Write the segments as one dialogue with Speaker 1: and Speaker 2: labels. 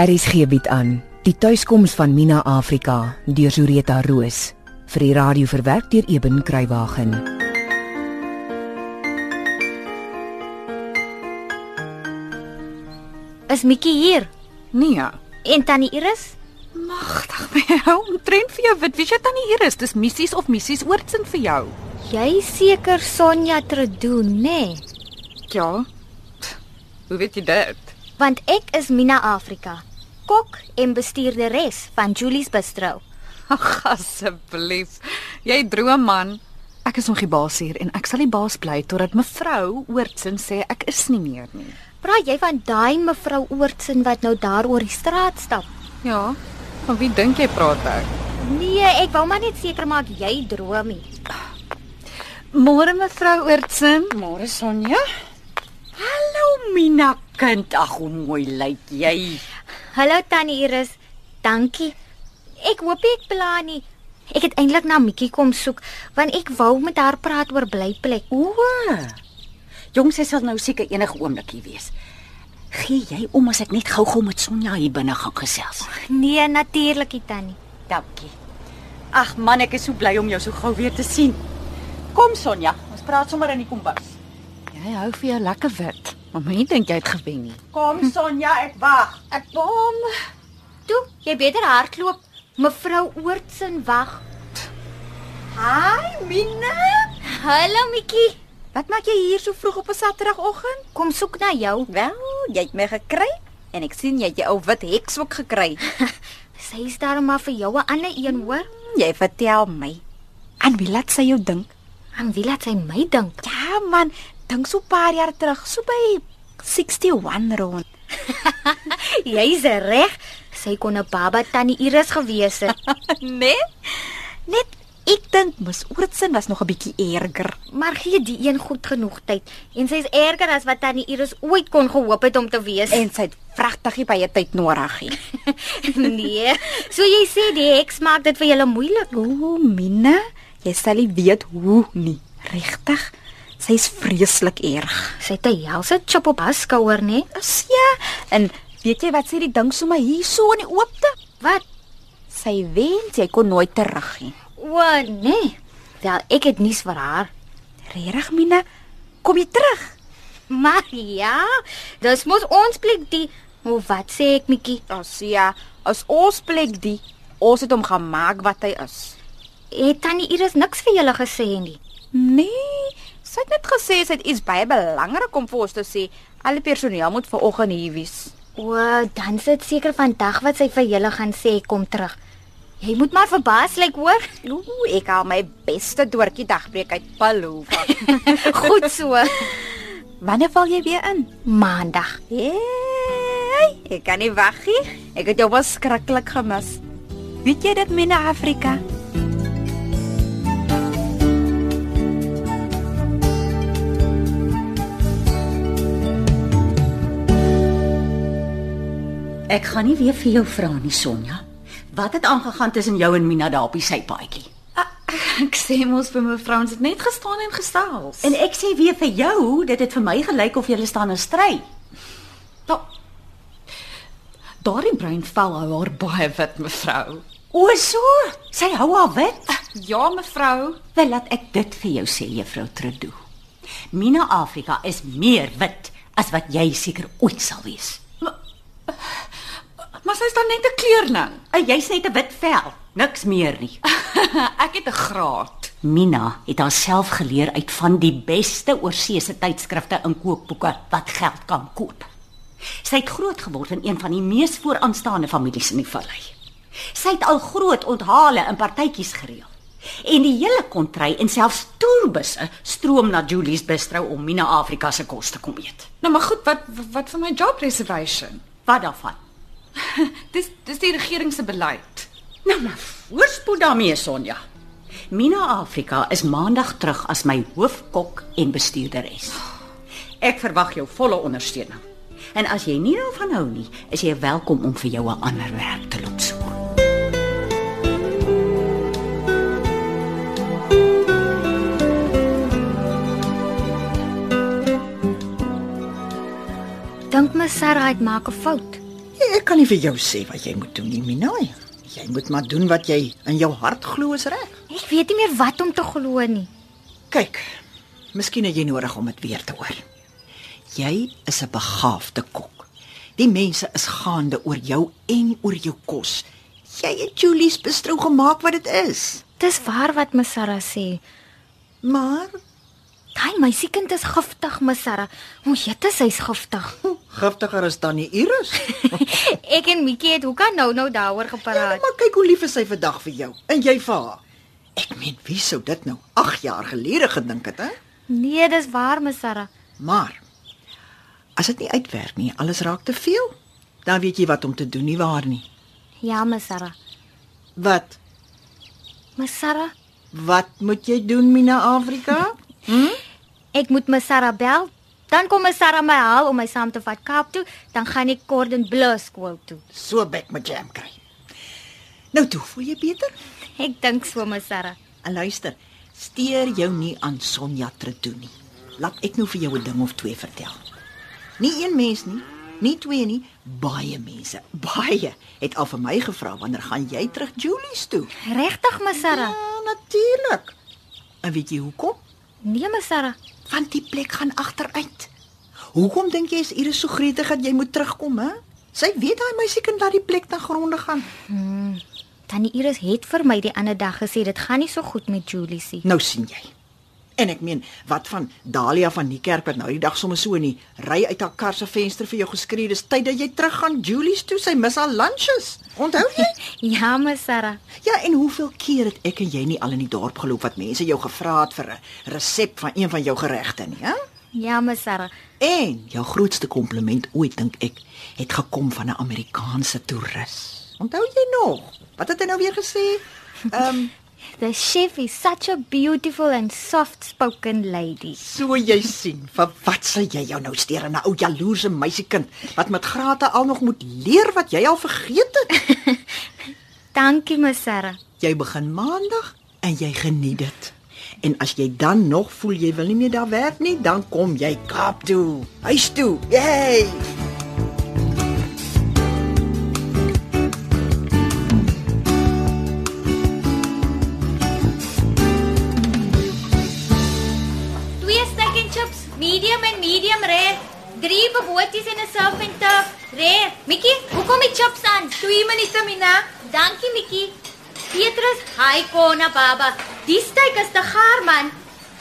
Speaker 1: RSG bied aan Die tuiskoms van Mina Afrika deur Zureta Roos vir die radio verwerk deur Eben Kruiwagen.
Speaker 2: Is Mikkie hier?
Speaker 3: Nee,
Speaker 2: En tannie Iris?
Speaker 3: magtig my ou, omtrent vir jou wit. Wie sê tannie hier is? Dis missies of missies oortsin vir jou.
Speaker 2: Jy seker Sonja Tredo, nê? Nee?
Speaker 3: Ja. Hoe weet jy dit?
Speaker 2: Want ek is Mina Afrika, kok en bestuurderes van Julie's Bistro.
Speaker 3: Ag asseblief. Jy droom man. Ek is nog die baas hier en ek sal die baas bly totdat mevrou Oortsin sê ek is nie meer nie.
Speaker 2: Praat jy van daai mevrou Oortsen wat nou daar oor die straat stap?
Speaker 3: Ja. Van wie dink jy praat ek?
Speaker 2: Nee, ek wou maar net seker maak jy droom nie.
Speaker 3: Môre mevrou Oortsin.
Speaker 4: Môre Sonja. Hallo Mina kind. Ag hoe mooi lyk jy.
Speaker 2: Hallo tannie Iris. Dankie. Ek hoop ek pla nie. Ek het eintlik na Mikkie kom soek want ek wou met haar praat oor blyplek.
Speaker 4: O. Jong, sy sal nou seker enige oomblik hier wees. Gee jy om as ek net gou-gou met Sonja hier binne gaan gesels?
Speaker 2: Nee, natuurlik, nie, tannie.
Speaker 4: Dankie. Ag man, ek is so bly om jou so gou weer te sien. Kom Sonja, ons praat sommer in die kombuis.
Speaker 3: Jy hou vir jou lekker wit. Maar moenie dink jy het gewen nie.
Speaker 4: Kom Sonja, ek wag.
Speaker 2: Ek bom. Toe, jy beter hardloop. Mevrou Oortsen wag.
Speaker 4: Hi Mina.
Speaker 2: Hallo Mikkie.
Speaker 4: Wat maak jy hier so vroeg op 'n Saterdagoggend?
Speaker 2: Kom soek na jou.
Speaker 4: Wel, jy het my gekry en ek sien jy het jou ou wit heks ook gekry.
Speaker 2: Sy is daar maar vir jou 'n ander een, hoor?
Speaker 4: Jy vertel my. Aan wie laat sy jou dink?
Speaker 2: Aan wie laat sy my dink?
Speaker 4: Ja man, dink so 'n paar jaar terug, so by 61 rond.
Speaker 2: Jy's reg. Sy kon 'n baba tannie Iris gewees het.
Speaker 4: nee. Net ek dink Ms. Oortsen was nog 'n bietjie erger.
Speaker 2: Maar gee die een goed genoeg tyd en sy's erger as wat tannie Iris ooit kon gehoop het om te wees.
Speaker 4: En sy het vragtigie by 'n tyd nodig.
Speaker 2: nee. So jy sê die heks maak dit vir julle moeilik.
Speaker 4: O, Mina, jy sal nie weet hoe nie. Regtig? Sy's vreeslik erg.
Speaker 2: Sy het 'n helse chop op haar skouer, né?
Speaker 4: Is ja, en weet jy wat sê die ding sommer hier so in die oopte?
Speaker 2: Wat?
Speaker 4: Sy wens jy kon nooit terug nie.
Speaker 2: O nee. Wel, ek het nuus vir haar.
Speaker 4: Regtig, Mina, kom jy terug?
Speaker 2: Maar ja, dis mos ons plek die. Hoe wat sê ek, Mikkie?
Speaker 4: Asia, as ons plek die, ons het hom gemaak wat hy is.
Speaker 2: Het tannie Iris niks vir julle gesê nie?
Speaker 4: Nee, sy het net gesê sy het iets baie belangrik om vir ons te sê. Alle personeel moet vanoggend hier wees.
Speaker 2: O, dan sit seker vandag wat sy vir julle gaan sê kom terug. Jy moet maar verbaas lyk, like, hoor?
Speaker 4: Ooh, ek haal my beste doortjie dagbreek uit Paloofa.
Speaker 2: Goed so.
Speaker 4: Wanneer val jy weer in?
Speaker 2: Maandag.
Speaker 4: Hey, ek kan nie wag nie. Ek het jou beskriklik gemis. Weet jy dit menne Afrika? Ek gaan nie weer vir jou vra nie, Sonja. Wat het aangegaan tussen jou en Mina daar op die sypaadjie?
Speaker 3: Ek sê mos vir mevrou ons het net gestaan en gestels.
Speaker 4: En ek sê weer vir jou, dit het vir my gelyk of julle staan in stry.
Speaker 3: Da Nou, Daardie breinvel hou haar baie wit, mevrou.
Speaker 4: O, so, sy hou haar wit.
Speaker 3: Ja, mevrou.
Speaker 4: Wel laat ek dit vir jou sê, juffrou Trudeau. Mina Afrika is meer wit as wat jy seker ooit sal wees.
Speaker 3: Maar sy's dan net 'n kleerling.
Speaker 4: En jy's net 'n wit vel, niks meer nie.
Speaker 3: ek het 'n graad.
Speaker 4: Mina het haarself geleer uit van die beste oorseese tydskrifte en kookboeke wat geld kan koop. Sy het groot geword in een van die mees vooraanstaande families in die vallei. Sy het al groot onthale in partytjies gereël. En die hele kontry en selfs toerbusse stroom na Julie's Bistro om Mina Afrika se kos te kom eet.
Speaker 3: Nou maar goed, wat wat van my job reservation?
Speaker 4: Wat daarvan?
Speaker 3: Dis dis die regering se beleid.
Speaker 4: Nou maar voorspoed daarmee Sonja. Mina Afrika is maandag terug as my hoofkok en bestuurderes. Ek verwag jou volle ondersteuning. En as jy nie daarvan hou nie, is jy welkom om vir jou 'n ander werk te loop soek.
Speaker 2: Dink my Sarah het maak 'n fout.
Speaker 4: Ek
Speaker 5: Ja, kan nie vir jou sê wat jy moet doen nie, Minay. Jy moet maar doen wat jy in jou hart glo is reg.
Speaker 2: Ek weet nie meer wat om te glo nie.
Speaker 5: Kyk, miskien het jy nodig om dit weer te hoor. Jy is 'n begaafde kok. Die mense is gaande oor jou en oor jou kos. Jy het Julie's bestrou gemaak wat dit is.
Speaker 2: Dis waar wat Ms Sarah sê.
Speaker 5: Maar
Speaker 2: Daai meisiekind is giftig, Ms Sarah. Ons weet dit sy's giftig.
Speaker 5: giftiger is dan die Iris.
Speaker 2: ek en Mikkie het hoekom nou nou daaroor
Speaker 5: Ja,
Speaker 2: gepraat.
Speaker 5: maar kyk hoe lief is sy vandag vir jou en jy vir haar. Ek meen, wie sou dit nou 8 jaar gelede gedink het, hè?
Speaker 2: Nee, dis waar, Ms Sarah.
Speaker 5: Maar as dit nie uitwerk nie, alles raak te veel. Dan weet jy wat om te doen nie waar nie.
Speaker 2: Ja, Ms Sarah.
Speaker 5: Wat
Speaker 2: Ms Sarah,
Speaker 5: Wat moet jy doen, Mina Afrika?
Speaker 2: ek moet Ms Sarah bel. Dan kom Ms Sarah my haal om my saam te vat Kaap toe, dan gaan ek Gordon Blue skool toe.
Speaker 5: so bek met jam kry. Nou toe, voel jy beter?
Speaker 2: Ek dink so, Ms Sarah.
Speaker 5: En luister, steur jou nie aan Sonja Tredoen nie. Laat ek nou vir jou 'n ding of twee vertel. Nie een mens nie, nie twee nie, baie mense, baie het al vir my gevra wanneer gaan jy terug Julie's toe?
Speaker 2: Regtig, Ms Sarah?
Speaker 5: Ja, natuurlik. En weet jy hoekom?
Speaker 2: Nee, Ms Sarah.
Speaker 5: Want die plek gaan agteruit. Hoekom dink jy is Iris so gretig dat jy moet terugkom, hè? Sy weet daai meisiekind laat die plek na gronde gaan.
Speaker 2: Tannie Iris het vir my die ander dag gesê dit gaan nie so goed met Julie se.
Speaker 5: Nou sien jy. En ek meen, wat van Dalia van die kerk wat nou die dag sommer so in die ry uit haar kar se venster vir jou geskree, dis tyd dat jy teruggaan Julie's toe, sy mis haar lunches. Onthou jy?
Speaker 2: Ja, Ms Sarah.
Speaker 5: ja, en hoeveel keer het ek en jy nie al in die dorp geloop wat mense jou gevra het vir 'n resep van een van jou geregte nie, hè?
Speaker 2: Ja, Ms Sarah.
Speaker 5: En jou grootste kompliment ooit dink ek het gekom van 'n Amerikaanse toerus. Onthou jy nog? Wat het hy nou weer gesê? Ehm um,
Speaker 2: The chef is such a beautiful and soft-spoken lady.
Speaker 5: so jy sien, vir wat sal jy jou nou steur aan 'n ou jaloerse meisiekind wat met grate al nog moet leer wat jy al vergeet het?
Speaker 2: Dankie, Ms Sarah.
Speaker 5: Jy begin maandag en jy geniet dit. En as jy dan nog voel jy wil nie meer daar werk nie, dan kom jy Kaap toe. Huis toe. Yay!
Speaker 2: Twee steak and chips, medium en medium rare. Drie beboties en 'n surf and turf, rare. Mikkie, hoekom die chips aan? Twee minute mina. Dankie Mikkie. Petrus, hi kona baba. Die steak is te gaar man.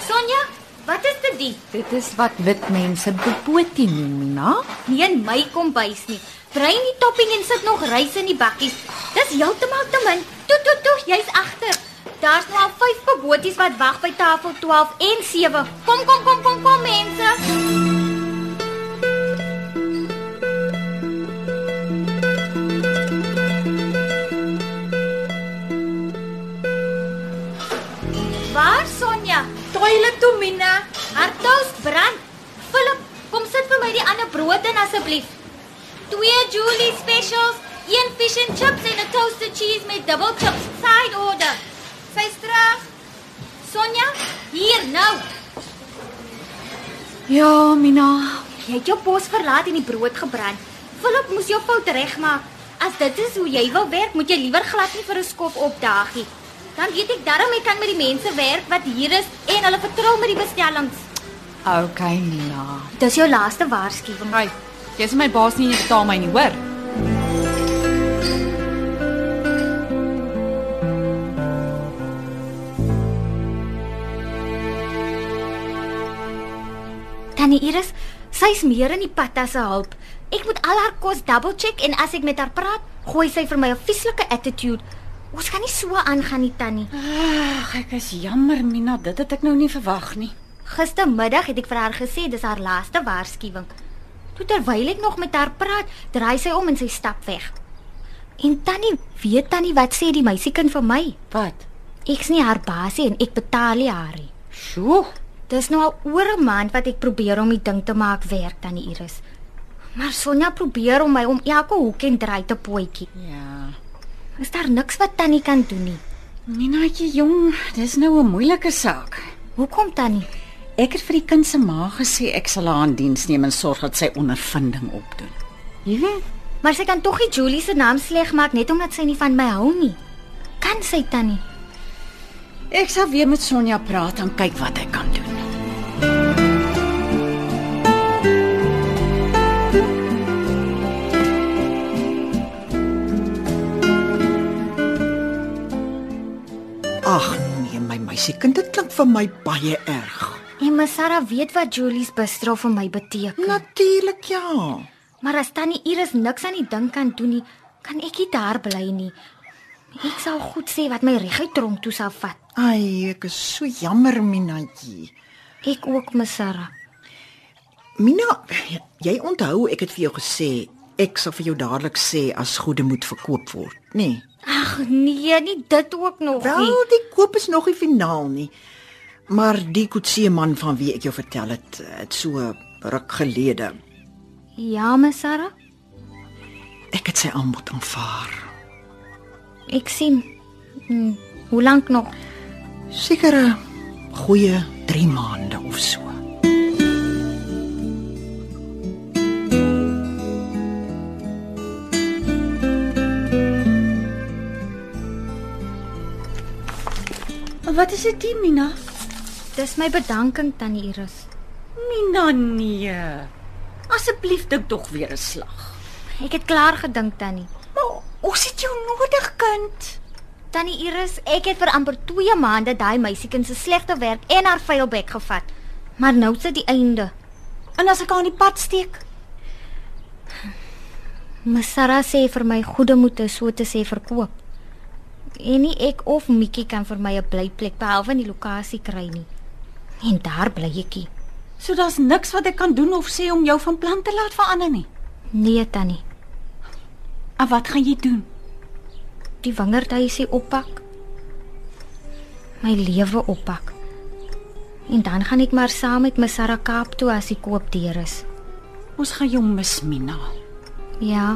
Speaker 2: Sonja, wat is dit die?
Speaker 3: Dit is wat wit mense beboetie noem, Mina.
Speaker 2: Nie in my kombuis nie. Brein die topping en sit nog rys in die bakkies. Dis heeltemal te min. Toe toe toe, jy's agter. Daar's nou al 5 beboties wat wag by tafel 12 en 7. Kom kom kom kom kom mense. Waar Sonja? Toilet toe Mina. Haar toast brand. Philip, kom sit vir my die ander brood in asseblief. Twee Julie specials, een fish and chips en 'n toasted cheese met double chips side order. Sy straf. Sonja, hier nou.
Speaker 3: Ja, Mina.
Speaker 2: Jy het jou pos verlaat en die brood gebrand. Philip moes jou fout regmaak. As dit is hoe jy wil werk, moet jy liewer glad nie vir 'n skof opdaagie. Dan weet ek darm ek kan met die mense werk wat hier is en hulle vertrou met die bestellings.
Speaker 3: OK, Mina.
Speaker 2: Dis jou laaste waarskuwing.
Speaker 3: Hey, jy's my baas nie, jy betaal my nie, hoor?
Speaker 2: Tannie Iris, sy's meer in die pad as 'n hulp. Ek moet al haar kos double check en as ek met haar praat, gooi sy vir my 'n vieslike attitude. Ons kan nie so aangaan nie, Tannie.
Speaker 3: Ag, ek is jammer, Mina, dit het ek nou nie verwag nie.
Speaker 2: Gistermiddag het ek vir haar gesê dis haar laaste waarskuwing. Toe terwyl ek nog met haar praat, draai sy om en sy stap weg. En Tannie, weet Tannie wat sê die meisiekind vir my?
Speaker 3: Wat?
Speaker 2: Ek's nie haar baasie en ek betaal nie haar nie.
Speaker 3: Sjoe.
Speaker 2: Dis nou al oor 'n maand wat ek probeer om die ding te maak werk aan die Iris. Maar Sonja probeer om my om elke hoek en draai te pootjie.
Speaker 3: Ja.
Speaker 2: Is daar niks wat Tannie kan doen nie?
Speaker 3: Minaatjie jong, dis nou 'n moeilike saak.
Speaker 2: Hoekom Tannie?
Speaker 4: Ek het vir die kind se ma gesê ek sal haar in diens neem en sorg dat sy ondervinding opdoen. Jy weet,
Speaker 6: Maar sy kan tog nie Julie se naam sleg maak net omdat sy nie van my hou nie. Kan sy tannie?
Speaker 4: Ek sal weer met Sonja praat en kyk wat ek kan doen.
Speaker 5: Ag nee, my meisiekind, dit klink vir my baie erg.
Speaker 6: En my Sarah weet wat Julie se bestraf vir my beteken.
Speaker 5: Natuurlik ja.
Speaker 6: Maar as tannie Iris niks aan die ding kan doen nie, kan ek nie daar bly nie. Ek sal goed sê wat my reguit tronk toe sal vat.
Speaker 5: Ai, ek is so jammer, Minatjie.
Speaker 6: Ek ook, my Sarah.
Speaker 5: Mina, jy onthou ek het vir jou gesê ek sal vir jou dadelik sê as goede moet verkoop word, nê? Nee.
Speaker 6: Ag nee, nie dit ook nog
Speaker 5: Wel,
Speaker 6: nie.
Speaker 5: die koop is nog nie finaal nie. Maar die koetsieman van wie ek jou vertel het, het so ruk gelede.
Speaker 6: Ja, my Sarah.
Speaker 5: Ek het sy aanbod aanvaar.
Speaker 6: Ek sien. Hm, hoe lank nog?
Speaker 5: Seker 'n goeie 3 maande of so.
Speaker 4: Wat is dit, Mina?
Speaker 6: Dis my bedanking tannie Iris.
Speaker 4: Mina nee. Asseblief dink tog weer 'n slag.
Speaker 6: Ek het klaar gedink tannie.
Speaker 4: Maar ons het jou nodig, kind.
Speaker 6: Tannie Iris, ek het vir amper 2 maande daai meisiekind se slegte werk en haar vuil bek gevat. Maar nou sit die einde.
Speaker 4: En as ek haar in die pad steek,
Speaker 6: Ms Sarah sê vir my goede moet is so te sê verkoop. En nie ek of Mikkie kan vir my 'n blyplek behalwe in die lokasie kry nie. En daar bly ekie.
Speaker 4: so daar's niks wat ek kan doen of sê om jou van plan te laat verander nie.
Speaker 6: Nee tannie,
Speaker 4: En wat gaan jy doen?
Speaker 6: die wingerdhuisie oppak. My lewe oppak. En dan gaan ek maar saam met Ms Sarah Kaap toe as die koop deur is.
Speaker 4: Ons gaan jou mis, Mina.
Speaker 6: Ja.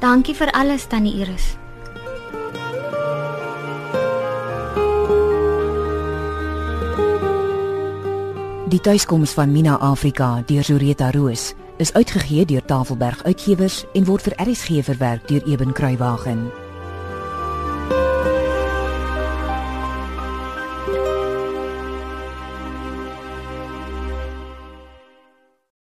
Speaker 6: Dankie vir alles tannie Iris.
Speaker 1: Die tuiskoms van Mina Afrika deur Zureta Roos is uitgegee deur Tafelberg Uitgewers en word vir RSG verwerk deur Eben Kruiwagen.